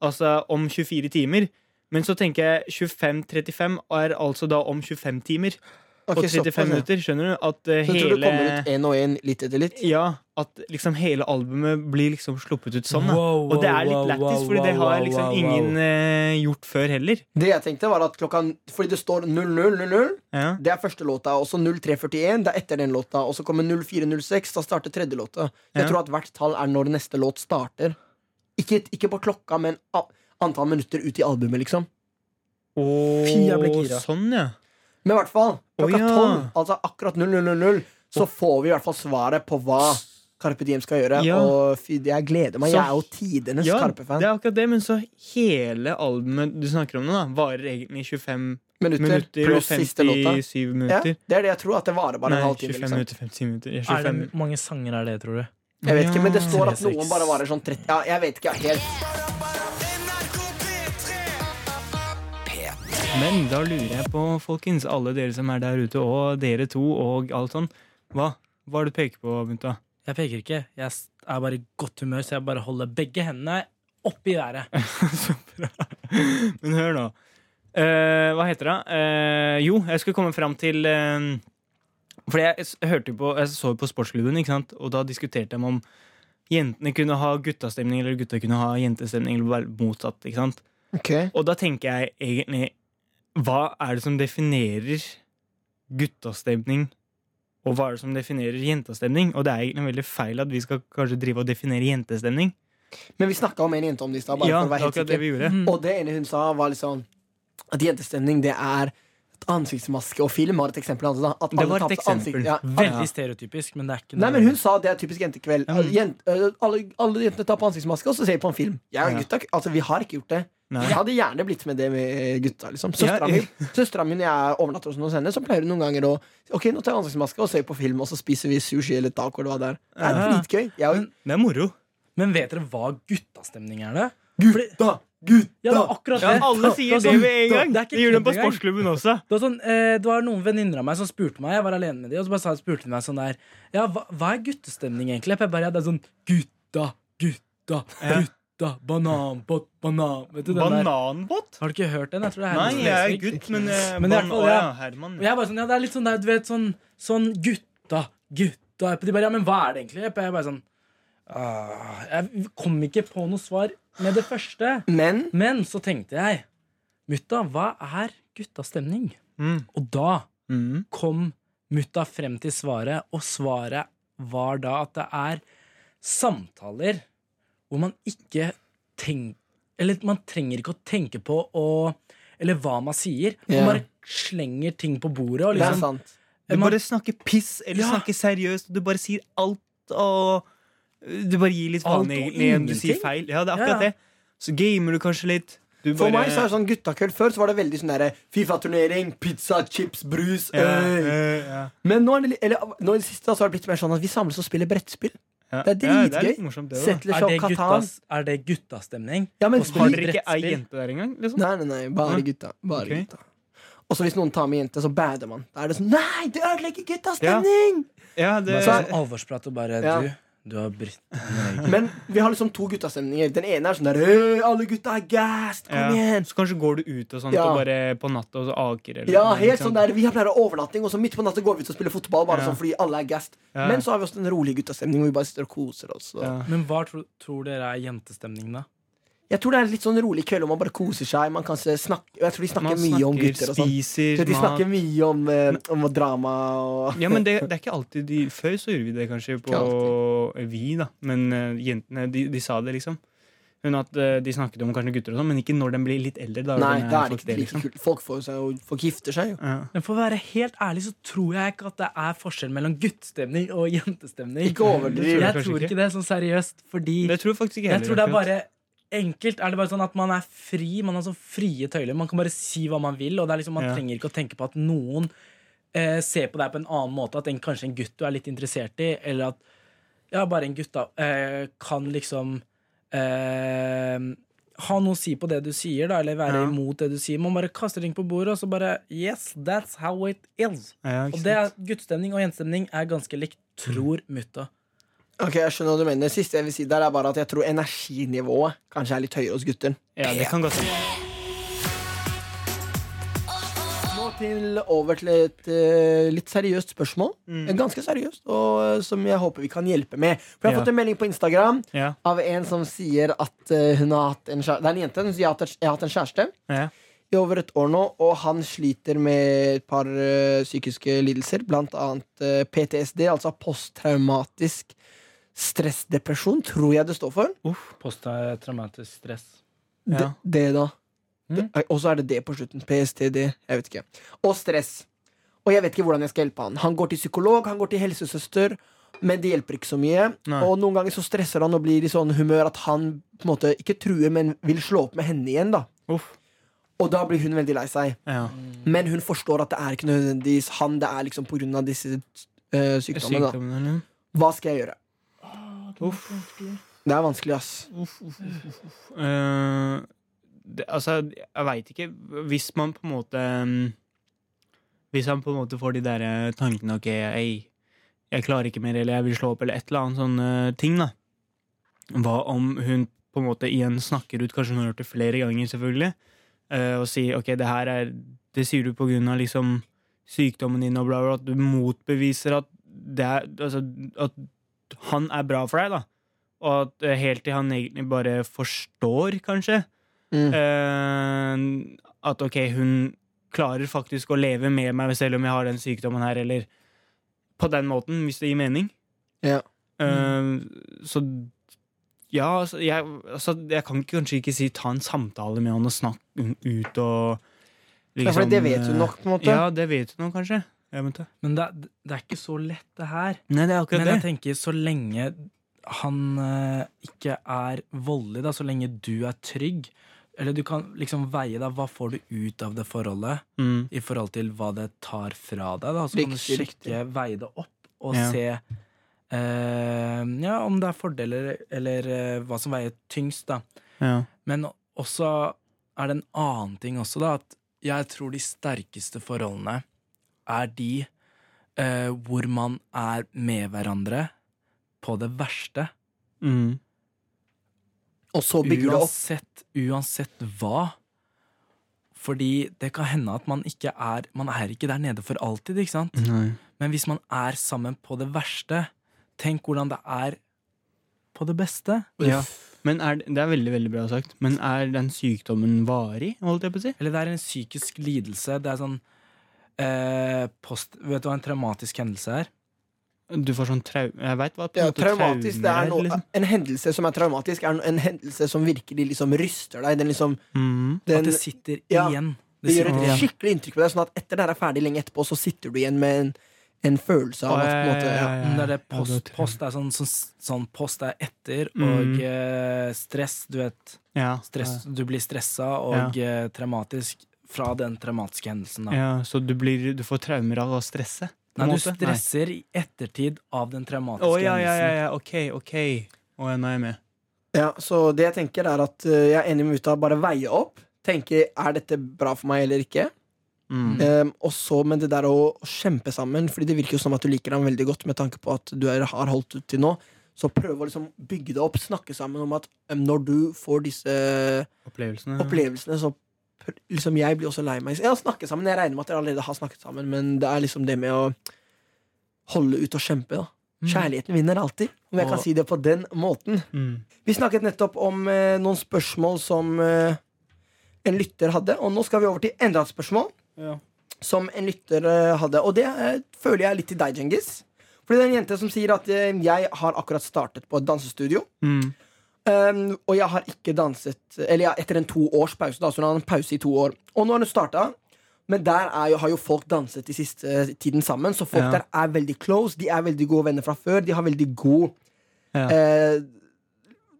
altså om 24 timer. Men så tenker jeg 25.35 er altså da om 25 timer ok, og 35 såpass, ja. minutter. Skjønner du? At eh, Så tror du det hele kommer ut én og én litt etter litt? ja, at liksom hele albumet blir liksom sluppet ut sånn. Da. Wow, og det er wow, litt wow, lættis, fordi det wow, har wow, liksom wow, wow. ingen eh, gjort før heller. Det jeg tenkte var at klokka Fordi det står 0000. Ja. Det er første låta. Og så 0341. Det er etter den låta. Og så kommer 0406. Da starter tredje låta. Jeg Ja. tror at hvert tall er når neste låt starter. Ikke, ikke på klokka, men a- antall minutter ut i albumet, liksom. Og Fy, jeg ble gira. sånn, ja. Men i hvert fall, klokka Å, ja. tolv, altså akkurat 0000, så får vi i hvert fall svaret på hva Carpe Diem skal gjøre. Ja. Og fy, jeg gleder meg. Så- Jeg er jo tidenes ja. Carpe-fan. Det er akkurat det, men så hele albumet du snakker om nå, da, varer egentlig 25 Minutter, minutter og pluss siste låta. 57 Ja, minutter. det er det jeg tror. At det varer bare Nei, en 25 halvtime. Liksom. minutter, 50 minutter. Ja, Er det 25. mange sanger er det, tror du? Jeg vet ikke, men det Ja. står at 36. noen bare varer sånn 30 Ja, jeg vet ikke helt. Men da lurer jeg på, folkens, alle dere som er der ute, og dere to, og alt sånn. Hva Hva er det du peker på, Bunta? Jeg peker ikke. Jeg s- er bare i godt humør, så jeg bare holder begge hendene oppi været. Ah, Så bra. Men hør nå. Eh, hva heter det? Eh, jo, jeg skulle komme fram til eh, Fordi jeg s- hørte jo på Jeg så jo på Sportsklubben, ikke sant? og da diskuterte de om jentene kunne ha guttastemning, eller gutta kunne ha jentestemning, eller bare motsatt. ikke sant? Og da tenker jeg egentlig Hva er det som definerer guttastemning, og hva er det som definerer jentastemning? Og det er egentlig veldig feil at vi skal kanskje drive og definere jentestemning. Men vi snakka om en jente om det i stad. bare Ja, for å det være er helt akkurat sikker. det vi Mhm. gjorde. Og det ene hun sa, var liksom at jentestemning, det er et ansiktsmaske og film. Var et eksempel. Altså, da. At Det alle var et tar på seg ansikt- eksempel. Ja, Veldig stereotypisk, men det er ikke Nei, men Hun sa det er typisk jentekveld. Ja, men- Jent, øh, alle, alle jentene tar på ansiktsmaske, og så ser vi på en film. Jeg og Ja. gutta, altså Vi har ikke gjort det. Nei. Jeg hadde gjerne blitt med det med gutta. liksom Søstera Ja. mi søstera mi, når jeg overnatter hos noen henne, så pleier hun noen ganger å Ok, nå tar jeg ansiktsmaske og ser på film, og så spiser vi sushi eller taco. Eller hva det er Det er Ja. dritgøy. Jeg og Det er moro. Men vet dere hva guttastemning er, da? gutta Gutta! Ja, det var akkurat det. alle var sier det sånn- med en gang. Det er ikke Det gjør de på kødd engang. sportsklubben også. Det var, sånn, eh, det var noen venninner av meg som spurte meg Jeg var alene med de, og så bare sa, spurte de meg sånn der Ja, hva, hva er guttestemning egentlig? Jeg bare, ja, det er sånn Gutta, gutta, gutta Bananbåt, banan Vet du den der? Bananbåt? Har du ikke hørt den? Jeg tror det er Nei, Herman jeg er Flesvig. gutt, men, eh, Men i hvert ban- fall, å, ja. ja, Herman. Og jeg bare sånn, ja, det er litt sånn der, du vet, sånn, sånn gutta, gutta. De bare, ja, men hva er det egentlig? Jeg bare sånn, «Ah, jeg kom ikke på noe svar med det første. Men Men så tenkte jeg, mutta, hva er guttastemning? Mm. Og da Mm. kom mutta frem til svaret, og svaret var da at det er samtaler hvor man ikke tenker Eller man trenger ikke å tenke på å Eller hva man sier. Ja. Man bare slenger ting på bordet. Og det er liksom, sant. Du man- bare snakker piss, eller Ja. snakker seriøst, og du bare sier alt og Du bare gir litt Alt faen og egentlig om du sier ingenting. feil. Ja, det er Ja, ja. akkurat det. Så gamer du kanskje litt. Du For bare- meg så er det sånn guttakveld Før så var det veldig sånn derre Fifa-turnering, pizza, chips, brus. ja, øy. eh, ja. Men nå, er sånn, øh, det, li- eller, øh, nå i det siste så har det blitt mer sånn at vi samles og spiller brettspill. Ja. Det er Ja, dritgøy. litt morsomt, det også. Settler er, seg det opp Katan. guttas, er det guttastemning? Ja, men, Og Har spiller- nei, dere ikke ei brettspill? jente der engang? Liksom? nei, nei, bare Nei. gutta. Bare Ok. gutta. Og så hvis noen tar med jente, så bader man. Da er det sånn Nei, du ødelegger guttas stemning! Ja, det, Bare sånn alvorsprat og bare Ja. Du, du har britt en regel. Men vi har liksom to guttastemninger. Den ene er sånn der «Øy, Alle gutta er gassed! Kom ja. igjen! Så kanskje går du ut og sånt Ja. og bare på natta og så aker eller Ja, noe, helt ikke sant? sånn der Vi har pleier å ha overnatting, og så midt på natta går vi ut og spiller fotball. Bare Ja. sånn fordi alle er gassed Ja. Men så har vi også den rolige guttastemningen hvor vi bare sitter og koser oss. Og. Ja. Men hva tro, tror dere er jentestemning, da? Jeg tror det er litt sånn rolig kveld, og man bare koser seg. Man kan se- snakke, jeg tror de snakker Man mye snakker, om gutter og sånn. spiser, Så De mat snakker mye om, eh, om drama og Ja, men det, det er ikke alltid de, Før så gjorde vi det kanskje på Ikke alltid. Vi, da. Men eh, jentene, de, de sa det, liksom. Men at eh, De snakket om kanskje gutter og sånn, men ikke når de blir litt eldre. Da, Nei, de da er det faktisk ikke like liksom. kult. Folk, får seg, jo- folk gifter seg jo. Ja. Men for å være helt ærlig så tror jeg ikke at det er forskjell mellom guttestemning og jentestemning. Ikke overdriv. Det tror jeg Jeg kanskje tror ikke. ikke det, sånn seriøst. Fordi Det tror jeg faktisk jeg ikke heller. tror det er akkurat. bare enkelt. Er det bare sånn at man er fri? Man har sånn frie tøyler. Man kan bare si hva man vil, og det er liksom, man Ja. trenger ikke å tenke på at noen eh, ser på deg på en annen måte. At en, kanskje en gutt du er litt interessert i, eller at ja, bare en gutt da, eh, kan liksom eh, ha noe å si på det du sier, da, eller være Ja. imot det du sier. Man bare kaster ting på bordet, og så bare Yes, that's how it is. Ja, ikke Og det sant? er guttestemning og jentestemning er ganske likt, tror mutta. Ok, jeg skjønner hva du mener Siste jeg vil si der er bare at jeg tror energinivået kanskje er litt høyere hos gutter. ja, det kan godt hende. Nå til over til et eh, litt seriøst spørsmål. Eh, Ganske seriøst, og eh, som jeg håper vi kan hjelpe med. For Jeg har Ja. fått en melding på Instagram Ja, av en som sier at eh, hun har hatt en kjæreste. Det er en jente som sier at jeg har hatt en kjæreste ja. i over et år nå, og han sliter med et par eh, psykiske lidelser, blant annet eh, PTSD, altså posttraumatisk stressdepresjon, tror jeg det står for. Posttraumatisk stress. Det, Oh, Ja. det da. Mm. Det- Og så er det det på slutten. PSTD. Jeg vet ikke. Og stress. Og jeg vet ikke hvordan jeg skal hjelpe han. Han går til psykolog, han går til helsesøster, men det hjelper ikke så mye. Nei. Og noen ganger så stresser han og blir i sånn humør at han på en måte ikke truer, men vil slå opp med henne igjen, da. Uff. Og da blir hun veldig lei seg. Ja. Men hun forstår at det er ikke nødvendigvis han, det er liksom på grunn av disse eh, sykdommene, da. Sykdommen, eller? Hva skal jeg gjøre? Uff. Det er vanskelig, ass. Uff, uff, uff, uff, uff. Eh, det, altså, jeg veit ikke. Hvis man på en måte mm, Hvis man på en måte får de der eh, tankene Ok, jeg, jeg klarer ikke mer, eller jeg vil slå opp, eller et eller annet sånne ting, da. Hva om hun på en måte igjen snakker ut, kanskje hun har gjort det flere ganger, selvfølgelig, eh, og sier ok, det her er Det sier du på grunn av liksom sykdommen din og bla, bla, at du motbeviser at det er Altså, at han er bra for deg, da. Og at eh, helt til han egentlig bare forstår, kanskje, Mm. eh, at ok, hun klarer faktisk å leve med meg selv om jeg har den sykdommen her, eller på den måten, hvis det gir mening. Ja. Eh, så ja, altså, jeg, altså, jeg kan kanskje ikke si ta en samtale med han og snakke ut og Ja, for det vet hun eh, nok, på en måte. Ja, det vet hun nok kanskje. Jeg vet det. Men det, er- det er ikke så lett, det her. Nei, det er Men akkurat jeg det. tenker, så lenge han eh, ikke er voldelig, da, så lenge du er trygg Eller du kan liksom veie da, hva får du ut av det forholdet Mm. i forhold til hva det tar fra deg. Da. Så kan du Riktig, sjekke, veie det opp og Ja. se eh, ja, om det er fordeler eller eh, hva som veier tyngst. da Ja. Men å- Og så er det en annen ting også, da, at jeg tror de sterkeste forholdene er de eh, hvor man er med hverandre på det verste. Mm. Og så bygger det opp. Uansett, uansett hva. Fordi det kan hende at man ikke er Man er ikke der nede for alltid, ikke sant? Men hvis man er sammen på det verste, tenk hvordan det er på det beste. Ja. Men er, det er veldig veldig bra sagt. Men er den sykdommen varig? holdt jeg på å si? Eller det er en psykisk lidelse. Det er sånn eh, post, Vet du hva en traumatisk hendelse er? Du får sånn trau... Jeg veit hva på en Ja, måte traumatisk, det traumer er noe, liksom. En hendelse som er traumatisk, er no- en hendelse som virkelig liksom ryster deg. Den liksom, Mhm. den, At det sitter ja, igjen. det gjør et sitter igjen. skikkelig inntrykk på deg, sånn at etter det her er ferdig lenge etterpå, så sitter du igjen med en, en følelse av at på en måte, ja. Mm, Det er det post, Ja, det er post er sånn, sånn, sånn post er etter, Mm. og eh, stress, du vet Ja. stress, Du blir stressa og eh, traumatisk fra den traumatiske hendelsen. Da. Ja, så du, blir, du får traumer av å stresse? på en Nei, du måte? stresser i ettertid av den Å traumatiske ja, ja, ja, hendelsen. ja, ok, ok. Å ja, nå er jeg med. ja, så det jeg tenker er at eh, jeg er enig med Uta, bare veie opp. Tenke er dette bra for meg eller ikke. Mm. Um, og så med det der å kjempe sammen, Fordi det virker jo som at du liker ham veldig godt med tanke på at du er, har holdt ut til nå. Så prøve å liksom bygge det opp, snakke sammen om at um, når du får disse Opplevelsene. opplevelsene, så pr- liksom jeg blir også lei meg. Ja, snakke sammen. Jeg regner med at dere allerede har snakket sammen, men det er liksom det med å holde ut og kjempe, da. Kjærligheten vinner alltid, om jeg kan Og- si det på den måten. Mm. Vi snakket nettopp om eh, noen spørsmål som eh, en lytter hadde, og nå skal vi over til enda et spørsmål Ja. som en lytter eh, hadde. Og det eh, føler jeg er litt til deg, Djengis. Fordi det er en jente som sier at eh, jeg har akkurat startet på et dansestudio. Mm. ehm, og jeg har ikke danset Eller ja, etter en to års pause. Da, så hun har en pause i to år. Og nå har hun starta, men der er jo, har jo folk danset de siste eh, tiden sammen. Så folk Ja. der er veldig close. De er veldig gode venner fra før. De har veldig god Ja. eh,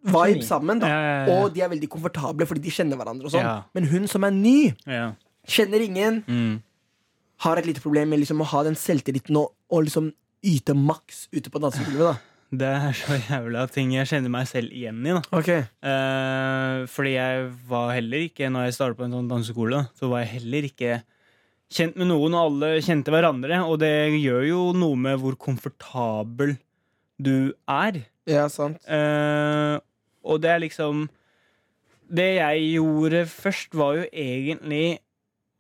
vibe Kjemi. sammen. Da. Ja, ja, ja. Og de er veldig komfortable fordi de kjenner hverandre. Og sånn. Ja. Men hun som er ny, ja. kjenner ingen Mm. har et lite problem med liksom å ha den selvtilliten og, og liksom yte maks ute på dansegulvet. da Det er så jævla ting jeg kjenner meg selv igjen i. da Eh, fordi jeg var heller ikke, når jeg startet på en sånn danseskole, da, så var jeg heller ikke kjent med noen, og alle kjente hverandre. Og det gjør jo noe med hvor komfortabel du er. Ja, sant Eh, og det er liksom Det jeg gjorde først, var jo egentlig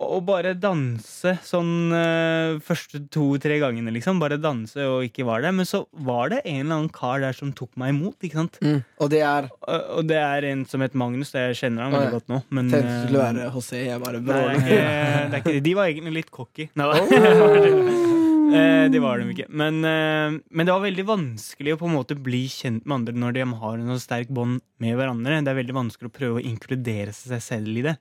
å bare danse sånn eh, første to-tre gangene, liksom. Bare danse og ikke var der. Men så var det en eller annen kar der som tok meg imot, ikke sant. mm. Og det er Og og det er en som heter Magnus. Jeg kjenner han Å, veldig ja. godt nå. Men, Tenkte du eh, skulle være José, jeg bare Nei, det bråler. er ikke, det er ikke, de var egentlig litt cocky. Nei, da. Eh, det var de ikke. Men, eh, men det var veldig vanskelig å på en måte bli kjent med andre når de har en så sterk bånd med hverandre. Det er veldig vanskelig å prøve å inkludere seg selv i det.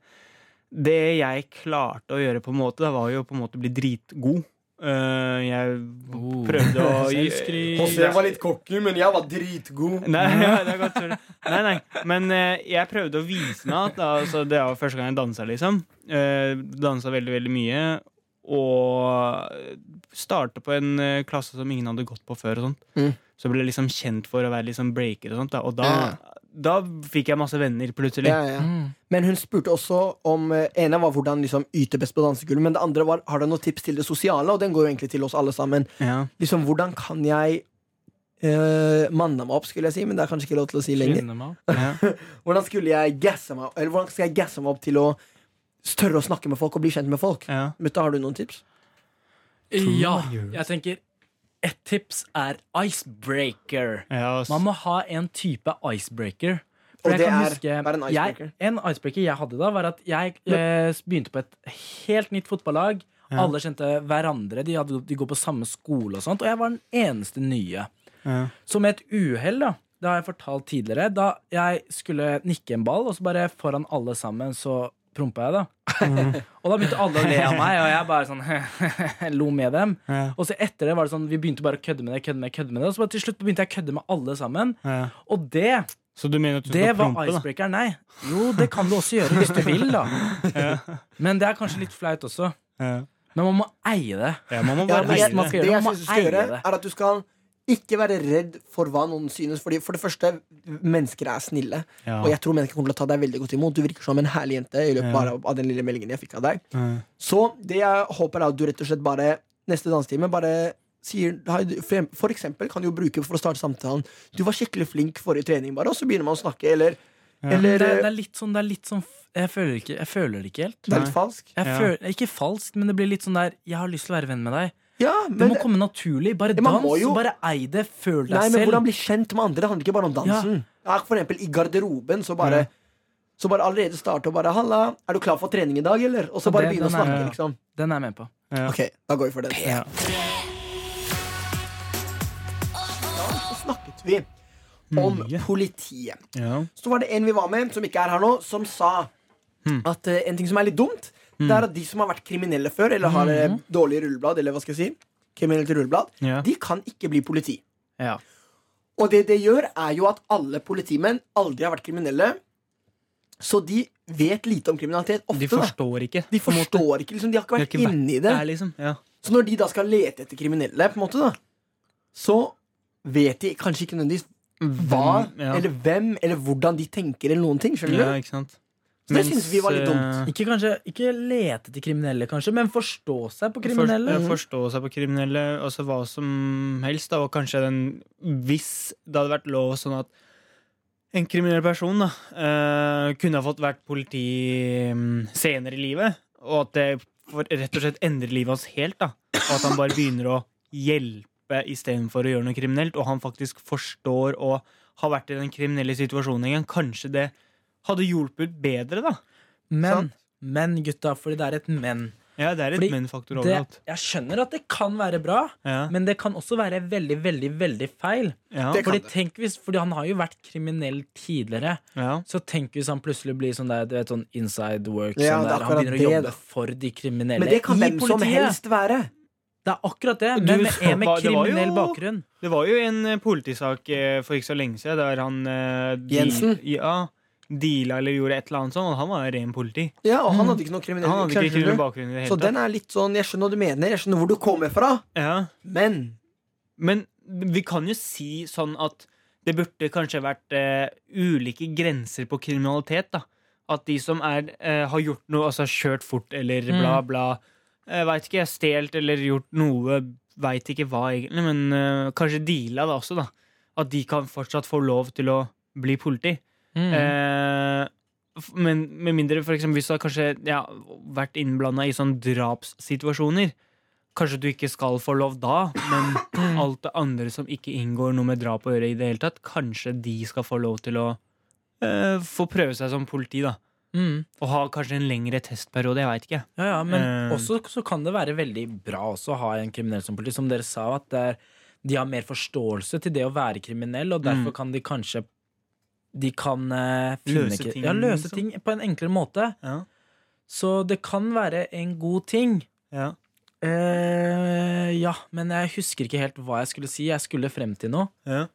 Det jeg klarte å gjøre, på en måte da, var jo på en måte å bli dritgod. Eh, jeg Oh. prøvde å Selvskryt. José var litt cocky, men jeg var dritgod. Nei, ja, det er godt tull. Nei, nei. Men eh, jeg prøvde å vise meg at da, altså, det var første gang jeg dansa, liksom. Eh, dansa veldig, veldig mye. Og starta på en eh, klasse som ingen hadde gått på før. og sånt. Mm. Så ble jeg liksom kjent for å være liksom breaker og sånt. Da. Og da, Ja. da fikk jeg masse venner, plutselig. Ja, ja. Mm. Men hun spurte også om eh, ene var hvordan liksom yte best på dansegulvet, men det andre var har du noen tips til det sosiale, og den går jo egentlig til oss alle sammen. Ja. Liksom, Hvordan kan jeg eh, manne meg opp, skulle jeg si, men det er kanskje ikke lov til å si lenger. Kvinne meg opp. Ja. Hvordan skulle jeg gasse meg Eller hvordan skal jeg gasse meg opp til å tørre å snakke med folk og bli kjent med folk? Ja. Mutta, har du noen tips? Ja, man gjør. jeg tenker Et tips er icebreaker. Ja, ass. Man må ha en type icebreaker. Og jeg det kan er- hva er en icebreaker? Jeg, en icebreaker jeg hadde da, var at jeg eh, begynte på et helt nytt fotballag. Ja. Alle kjente hverandre, de, hadde, de går på samme skole og sånt. Og jeg var den eneste nye. ja. Så med et uhell, da, det har jeg fortalt tidligere, da jeg skulle nikke en ball, og så bare foran alle sammen, så prompa jeg, da. og da begynte alle å le av meg, og jeg bare sånn lo med dem. Ja. Og så etter det var det sånn, vi begynte bare å kødde med det, kødde med det, kødde med det. Og så bare til slutt begynte jeg å kødde med alle sammen. Ja. Og det, Så du mener at du det skal var prompe, da? icebreakeren. Nei. Jo, det kan du også gjøre hvis du vil, da. Men det er kanskje litt flaut også. Ja. Men man må eie det. Ja, man må Ja, men bare det jeg, man skal det gjøre, jeg man synes du må skal eie gjøre, det. er at du skal Ikke være redd for hva noen synes. Fordi For det første, mennesker er snille. Ja. Og jeg tror mennesker kommer til å ta deg veldig godt imot. Du virker som en herlig jente i løpet Ja. bare av den lille meldingen jeg fikk av deg. Ja. Så det jeg håper er at du rett og slett bare neste dansetime bare sier hei, du- For for eksempel kan du jo bruke for å starte samtalen Du var skikkelig flink forrige trening, bare, og så begynner man å snakke, eller Ja. Eller Det, eh, det er litt sånn, det er litt sånn f- jeg føler, ikke, jeg føler det ikke helt. det er Nei. litt falsk. Jeg Ja. føler, ikke falskt, men det blir litt sånn der Jeg har lyst til å være venn med deg. Ja, Det men, må komme naturlig. Bare Ja, man dans, må jo- bare ei det. Føl deg nei, men selv. hvordan bli kjent med andre? Det handler ikke bare om dansen. Ja. for eksempel i garderoben, så bare Ja. Så bare allerede starte og bare 'Halla, er du klar for trening i dag', eller? Og så Ja, bare det- begynne å den er- snakke, ja. liksom. Den er jeg med på. Ja. Ok, da går vi for den. Ja. Så snakket vi om Mye. politiet. Ja. Så var det en vi var med, som ikke er her nå, som sa Hmm. at eh, en ting som er litt dumt, det er at de som har vært kriminelle før, eller har eh, dårlig rulleblad, eller hva skal jeg si, kriminelt rulleblad, Hmm. Ja. de kan ikke bli politi. Ja. Og det det gjør, er jo at alle politimenn aldri har vært kriminelle, så de vet lite om kriminalitet ofte. De Sånn, da. forstår ikke. De forstår ikke, liksom, de har ikke De har vært ikke vært inni Det det. er liksom ja. Så når de da skal lete etter kriminelle, på en måte, da, så vet de kanskje ikke nødvendigvis hva, Hvem- ja. eller hvem, eller hvordan de tenker, eller noen ting. skjønner du? Ja, ikke sant? Så eh, det synes vi var litt dumt. Ikke, kanskje, ikke lete etter kriminelle, kanskje, men forstå seg på kriminelle. Forst, ja, eh, forstå seg på kriminelle, altså hva som helst. Da, og kanskje den Hvis det hadde vært lov sånn at en kriminell person da, eh, kunne ha fått vært politi mm, senere i livet, og at det får rett og slett endrer livet hans helt, da. og at han bare begynner å hjelpe istedenfor å gjøre noe kriminelt, og han faktisk forstår og har vært i den kriminelle situasjonen en gang, kanskje det hadde hjulpet bedre, da. Men, Sant. men, gutta, fordi det er et men. Ja, det er et Fordi men-faktor Det, overalt. jeg skjønner at det kan være bra, Ja, men det kan også være veldig, veldig, veldig feil. ja, Det kan Fordi, tenk hvis, fordi han har jo vært kriminell tidligere. ja. Så tenk hvis han plutselig blir sånn der, du vet, sånn inside work. Ja, det sånn er der, han akkurat begynner å det, jobbe da. for de kriminelle Men det kan i hvem som politiet. helst være. Det er akkurat det, Du men med så en med på- det var jo- kriminell bakgrunn. Det var jo en eh, politisak eh, for ikke så lenge siden der han eh, de- Jensen? Ja, deala eller gjorde et eller annet sånt, og han var ren politi. Ja, Og Mm. han hadde ikke noe kriminell Han hadde ikke skjønner kriminell du? bakgrunn i Så det hele tatt. den er litt sånn Jeg skjønner hva du mener, jeg skjønner hvor du kommer fra, Ja. men Men vi kan jo si sånn at det burde kanskje vært eh, ulike grenser på kriminalitet, da. At de som er, eh, har gjort noe, altså kjørt fort eller bla, bla, eh, veit ikke, stjålet eller gjort noe, veit ikke hva egentlig, men eh, kanskje deala det også, da. At de kan fortsatt få lov til å bli politi. Mm. Eh, f- men med mindre for eksempel, hvis du har kanskje ja, vært innblanda i sånn drapssituasjoner Kanskje du ikke skal få lov da, men alt det andre som ikke inngår noe med drap å gjøre, i det hele tatt, kanskje de skal få lov til å eh, få prøve seg som politi, da. Mm. Og ha kanskje en lengre testperiode, jeg veit ikke. Ja, ja, men Eh. også så kan det være veldig bra også å ha en kriminell som politi. Som dere sa, at det er, de har mer forståelse til det å være kriminell, og derfor Mm. kan de kanskje De kan eh, finne Løse kri- ting, ja, løse liksom. ting på en enklere måte. Ja, Så det kan være en god ting. ja. Eh, ja, men jeg husker ikke helt hva jeg skulle si. Jeg skulle frem til noe. ja.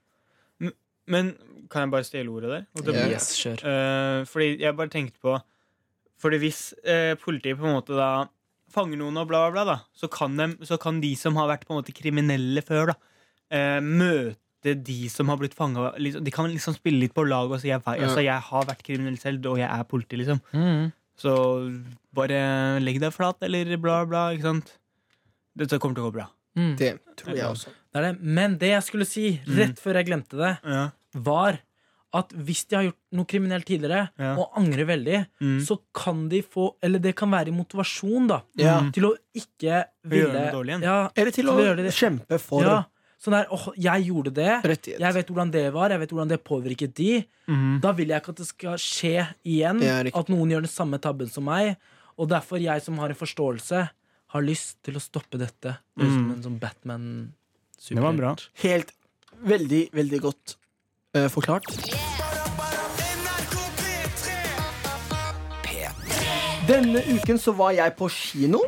Men- Men kan jeg bare stjele ordet der? Og det- Yes, kjør. Eh, fordi jeg bare tenkte på Fordi hvis eh, politiet på en måte da fanger noen og bla, bla, bla, da, så kan, dem, så kan de som har vært på en måte kriminelle før, da, eh, møte de som har blitt fanga. Liksom, de kan liksom spille litt på lag og si jeg, vei- Ja. altså, jeg har vært kriminell selv, og jeg er politi, liksom. Mm. Så bare legg deg flat, eller bla, bla, ikke sant. Dette kommer til å gå bra. Mm. Det tror jeg også. Det er det. Men det jeg skulle si, Mm. rett før jeg glemte det, Ja, var at hvis de har gjort noe kriminelt tidligere Ja. og angrer veldig, mm. så kan de få Eller det kan være motivasjon, da, Ja. Mm. til å ikke ville gjøre noe dårlig igjen. Ja. Eller til å Så gjør de det. kjempe for ja. Sånn der åh, jeg gjorde det. rettighet. Jeg vet hvordan det var, jeg vet hvordan det påvirket de. Mhm. Da vil jeg ikke at det skal skje igjen. Mm. Det er riktig. At noen gjør den samme tabben som meg. Og derfor jeg som har en forståelse, har lyst til å stoppe dette. Det er Som Mm. en sånn Batman Det var bra. Helt veldig, veldig godt eh, forklart. Denne uken så var jeg på kino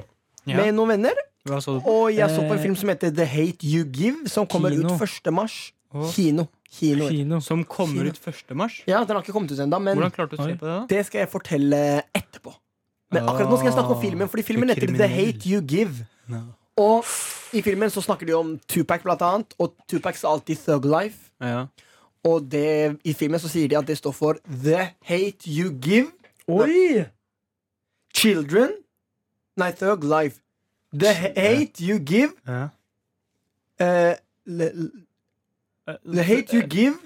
Ja. med noen venner. Hva så du på? Og jeg så på en Eh, film som heter The Hate You Give, som kommer Kino. ut 1. mars. Åh. Kino. Kino. Kino. Som kommer ut 1. mars? Ja, Den har ikke kommet ut ennå, men Hvordan klarte du å se Oi. på det, da? det skal jeg fortelle etterpå. Men akkurat nå skal jeg snakke om filmen, fordi filmen Du heter The kriminell. Hate You Give. Og i filmen så snakker de om Tupac, blant annet. Og Tupac sa alltid 'Thug Life'. Ja. Og det, i filmen så sier de at det står for 'The Hate You Give Oi! Children'. Nei, 'Thug Life'. 'The Hate You Give Ja. eh, le, The Hate You Give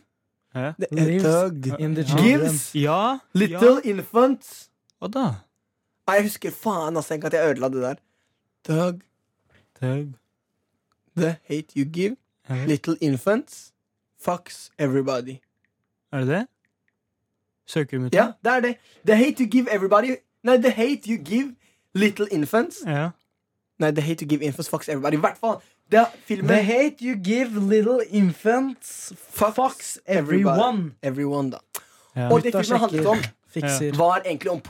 Hæ? the, Lives. Thug In the Gives Ja. Little Ja. Infants Hva da? Nei, jeg husker faen altså, ikke at jeg ødela det der. Thug, Tøv. The Hate You Give Er det- Little Infants Fucks Everybody. er det det? Søker du ut Ja, det er det. The hate you give everybody Nei, the hate you give little infants Ja. Nei, the hate you give infants fucks everybody. I hvert fall. Det er filmen The hate you give little infants Fucks fucks everybody. everyone. Everyone, da. Ja. Og det Gutta filmen handlet om, Fikser. var egentlig om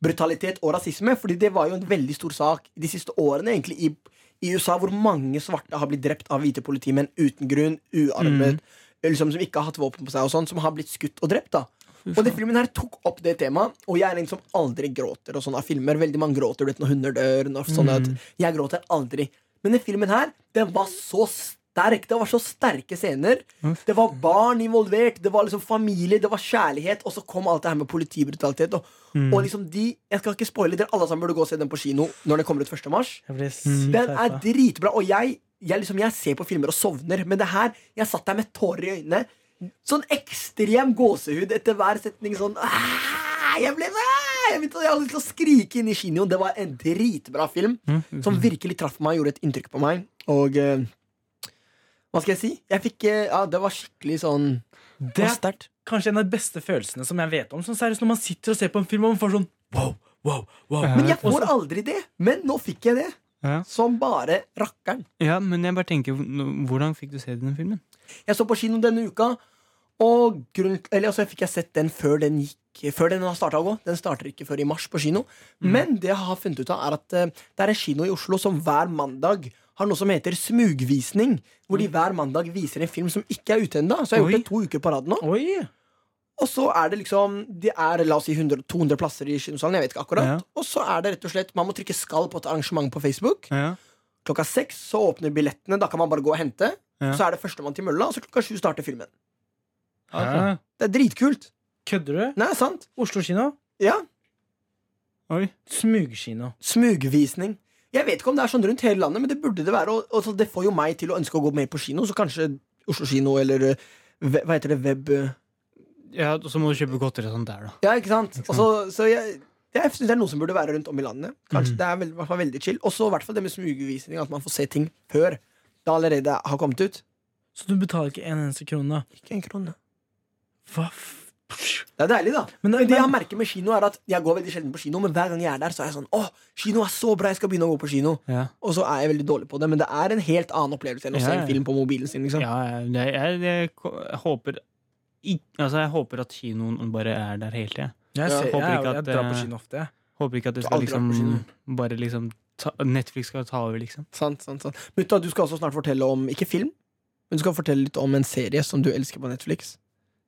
politibrutalitet og rasisme. Fordi det var jo en veldig stor sak de siste årene egentlig i, i USA, hvor mange svarte har blitt drept av hvite politimenn uten grunn, uarmet, liksom, som ikke har hatt våpen på seg, og sånn, som har blitt skutt og drept. da Og den filmen her tok opp det temaet, og jeg er en som aldri gråter. Og sånn av filmer, Veldig mange gråter du vet, når hunder dør. Når, sånn at Jeg gråter aldri. Men den filmen her, den var så sterk. Det var så sterke scener. Det var barn involvert, det var liksom familie, det var kjærlighet. Og så kom alt det her med politibrutalitet. Og, og liksom de, Jeg skal ikke spoile, dere alle sammen burde gå og se den på kino når den kommer ut 1. mars. Jeg blir Mm. sykt Den er hypa. dritbra, og jeg, jeg, liksom, jeg ser på filmer og sovner, men det her Jeg satt der med tårer i øynene. Sånn ekstrem gåsehud etter hver setning. Sånn «Ah, Jeg ble ah, jeg, begynte, jeg hadde lyst til å skrike inn i kinoen. Det var en dritbra film Mm. som virkelig traff meg og gjorde et inntrykk på meg. Og eh, hva skal jeg si? Jeg fikk eh, Ja, det var skikkelig sånn Det er kanskje en av de beste følelsene som jeg vet om. Sånn seriøst, Når man sitter og ser på en film og man får sånn wow, wow, wow. Ja. Men jeg Og får aldri det. Men nå fikk jeg det. Ja. Som bare rakkeren. ja, men jeg bare tenker hv- Hvordan fikk du se den filmen? Jeg så på kino denne uka, og grunn, eller, altså, fikk jeg sett den før den gikk før den har starta å gå. Den starter ikke før i mars på kino. Mhm. Men det jeg har funnet ut av er at eh, det er en kino i Oslo som hver mandag har noe som heter smugvisning. Hvor de hver mandag viser en film som ikke er ute ennå. Så jeg har Mhm. Oi. gjort det to uker på rad nå. Oi! Og så er det liksom Det er la oss si 100, 200 plasser i kinosalen. Jeg vet ikke akkurat Ja. Og så er det rett og slett Man må trykke 'skal' på et arrangement på Facebook. Ja. Klokka seks så åpner billettene. Da kan man bare gå og hente. Ja. Så er det førstemann til mølla, og så klokka sju starter filmen. Hæ? Det er dritkult. Kødder du? Nei, sant? Oslo kino? Ja. Oi. Smugkino. Smugvisning. Jeg vet ikke om det er sånn rundt hele landet, men det burde det være. Og, og så det får jo meg til å ønske å gå mer på kino, så kanskje Oslo kino eller eh, ve- Hva heter det? Web... eh, Ja, og så må du kjøpe godteri og sånt der, da. Ja, ikke sant? Mm. Og så- så jeg, jeg syns det er noe som burde være rundt om i landet. Kanskje Det er vel- i hvert fall veldig chill. Og så i hvert fall det med smugvisning, at man får se ting før det allerede har kommet ut. Så du betaler ikke en eneste krone? Ikke en krone. Hva f... Det er deilig, da. Men, Men det- det jeg men- merker med kino, er at jeg går veldig sjelden på kino, men hver gang jeg er der, så er jeg sånn Å, kino er så bra, jeg skal begynne å gå på kino. Ja. Og så er jeg veldig dårlig på det, men det er en helt annen opplevelse enn å se Ja, ja. en film på mobilen sin. liksom Ja, jeg, jeg, jeg, ko- jeg håper ik- Altså, jeg håper at kinoen bare er der hele tida. Jeg, ser, håper jeg, ikke jeg, at, drar på eh, kino ofte, jeg. Håper ikke at det Du har skal aldri vært på liksom Bare liksom ta, Netflix skal ta over, liksom. Sant, sant, sant Mutta, du skal også snart fortelle om, ikke film, men du skal fortelle litt om en serie som du elsker på Netflix.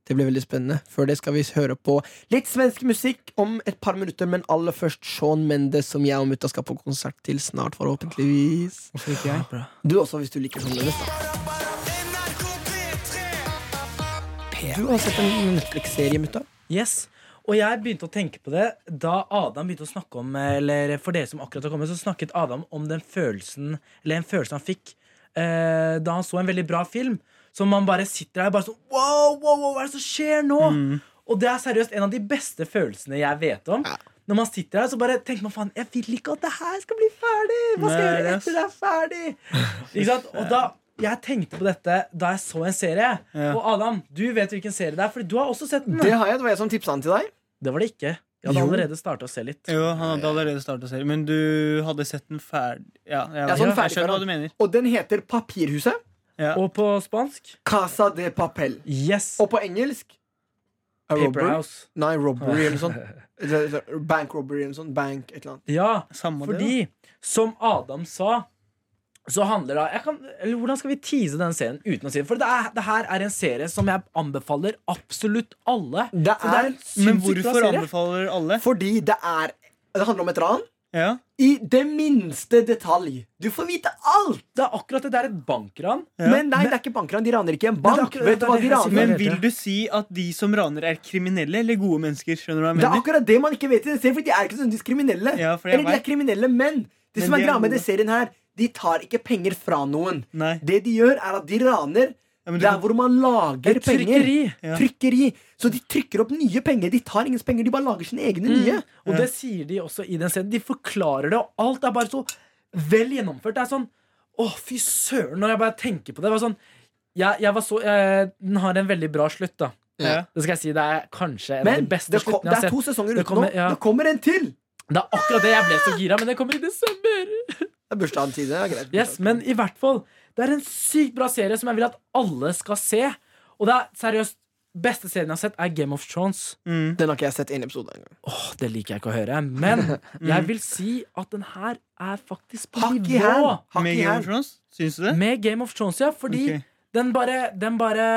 Det blir veldig spennende. Før det skal vi høre på litt svensk musikk om et par minutter, men aller først Sean Mendes, som jeg og mutta skal på konsert til snart, forhåpentligvis. Hvorfor ikke jeg? Bra. Du også, hvis du liker Sean Mendes. da. Du har sett en Netflix-serie, mutta. Yes. Og jeg begynte å tenke på det da Adam begynte å snakke om Eller for dere som akkurat har kommet, så snakket Adam om den følelsen Eller en følelse han fikk eh, da han så en veldig bra film. Som man bare sitter der og bare sånn Wow, wow, wow, hva er det som skjer nå? Mm. Og det er seriøst en av de beste følelsene jeg vet om. Når man sitter her, så bare tenker man faen, jeg vil ikke at det her skal bli ferdig! Hva skal jeg Nei, gjøre ass. etter det er ferdig? Ikke sant? Og da, jeg tenkte på dette da jeg så en serie. Ja. Og Adam, du vet hvilken serie det er, Fordi du har også sett den. Det har jeg, det var jeg som tipsa den til deg. Det var det ikke. Jeg hadde Jo. allerede starta å se litt. Jo, han hadde allerede starta serien, men du hadde sett den ferdig Ja, jeg, Ja, sånn jeg ferdig ferdig. skjønner hva du mener. Og den heter Papirhuset. Ja. Og på spansk Casa de Papel. Yes! Og på engelsk A Paper robbery? House. Nei, robbery eller noe sånt. Det- det- Bank robbery eller noe sånt. Bank et eller annet. Ja, Samme det. fordi som Adam sa, så handler det jeg kan, Eller hvordan skal vi tease den serien uten å si det? For det, er, det her er en serie som jeg anbefaler absolutt alle. Det For det er er en da. Men sinnssykt bra hvorfor serie. anbefaler alle? fordi det er Det handler om et ran. Ja. I det minste detalj. Du får vite alt! Det er akkurat det. Det er et bankran. Ja. Men nei, det er ikke bankran. De raner ikke en bank. Men det er akkurat- Vet du hva det er de det jeg raner? sier. Men vil du si at de som raner, er kriminelle eller gode mennesker? Skjønner du hva jeg Det er mener? akkurat det man ikke vet i den serien, for de er ikke sånn diskriminelle. Ja, for jeg Eller de er vet. kriminelle, men det Men som de er er greia med gode. den serien her, de tar ikke penger fra noen. Nei. Det de gjør, er at de raner Ja, men du der kan- hvor man lager Et penger. trykkeri. Ja. Trykkeri. Så de trykker opp nye penger. De tar ingens penger, de bare lager sine egne Mm. nye. Og det sier de også i den scenen. De forklarer det, og alt er bare så vel gjennomført. Det er sånn Å, fy søren, når jeg bare tenker på det. det var sånn, jeg, jeg var så, eh, den har en veldig bra slutt, da. Ja. Det skal jeg si, det er kanskje en av Men de det, beste kom, sluttene det jeg har er sett. to sesonger Det uten nå. kommer- ja. Det kommer en til! Det er akkurat det jeg ble så gira, men det kommer i desember. Det er bursdagen til det. er greit. Yes, Men i hvert fall, det er en sykt bra serie som jeg vil at alle skal se. Og det er seriøst beste serien jeg har sett, er Game of Thrones. Mm. Den har ikke jeg sett en episode engang. Åh, det liker jeg ikke å høre. Men jeg vil si at den her er faktisk på Mm. Hakk i hæl! nivå Hakk Med i Game hæl. of Thrones? Syns du det? med Game of Thrones, ja. Fordi Ok. den, bare, den bare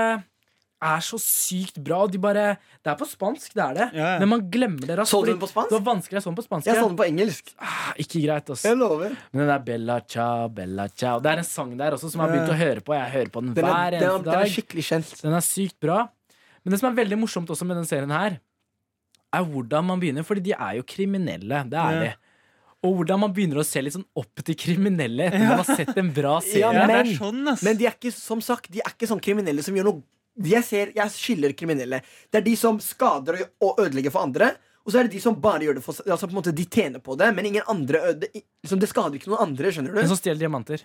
er så sykt bra. Og de bare Det er på spansk, det er det. Ja, ja. Men man glemmer det raskt. Så du den fordi på spansk? Det var vanskelig å så den på spansk. Jeg ja. så den på engelsk. Ah, ikke greit, ass. Jeg lover. Men den der Bella Ciao, Bella Ciao Det er en sang der også som jeg har begynt å høre på. Jeg hører på den Den er, hver den er, eneste den er dag. skikkelig kjent. Den er sykt bra. Men det som er veldig morsomt også med den serien her, er hvordan man begynner. Fordi de er jo kriminelle. Det er Ja. de. Og hvordan man begynner å se litt sånn opp til kriminelle etter man har sett en bra serie. Ja, Ja, det men- er sånn, ass. Men de er ikke som sagt, de er ikke sånn kriminelle som gjør noe de jeg, ser, jeg skiller kriminelle. Det er de som skader og- og ødelegger for andre. Og så er det de som bare gjør det for seg- altså på en måte De tjener på det, men ingen andre øde, i- liksom, det skader ikke noen andre. skjønner Men du? som stjeler diamanter.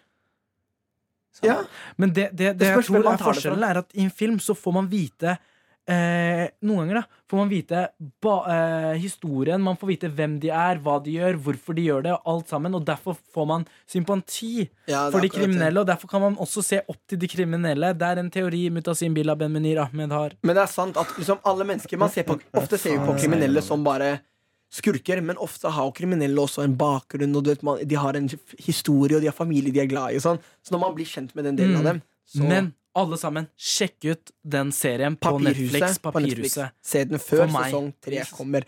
Ja, Men det, det, det, Det jeg spørs hvem man tror er tar det fra. forskjellen, er at i en film så får man vite eh, Noen ganger da får man vite ba, eh, historien, man får vite hvem de er, hva de gjør, hvorfor de gjør det, og alt sammen. Og derfor får man sympati Ja, det er for de akkurat det. kriminelle, og derfor kan man også se opp til de kriminelle. Det er en teori Mutasim Bila Ben Menir Ahmed har. Men det er sant at liksom, alle mennesker man ser på, ofte ser jo på kriminelle som bare skurker, men ofte har jo kriminelle også en bakgrunn, og du vet, man, de har en f- historie, og de har familie de er glad i. og Sånn. Så når man blir kjent med den delen av dem så Mm. Men alle sammen, sjekk ut den serien på Netflix. på Netflix. Papirhuset. Se den For før meg. sesong tre kommer.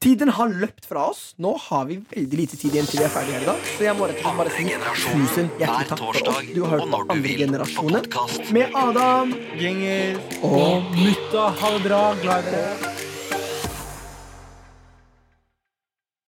Tiden har løpt fra oss. Nå har vi veldig lite tid igjen til vi er ferdige her i dag. Så jeg må rett og slett bare si tusen hjertelig takk for oss. Du har hørt på andre generasjonen med Adam Gjenger og Og mutta, ha det bra, glad i dere.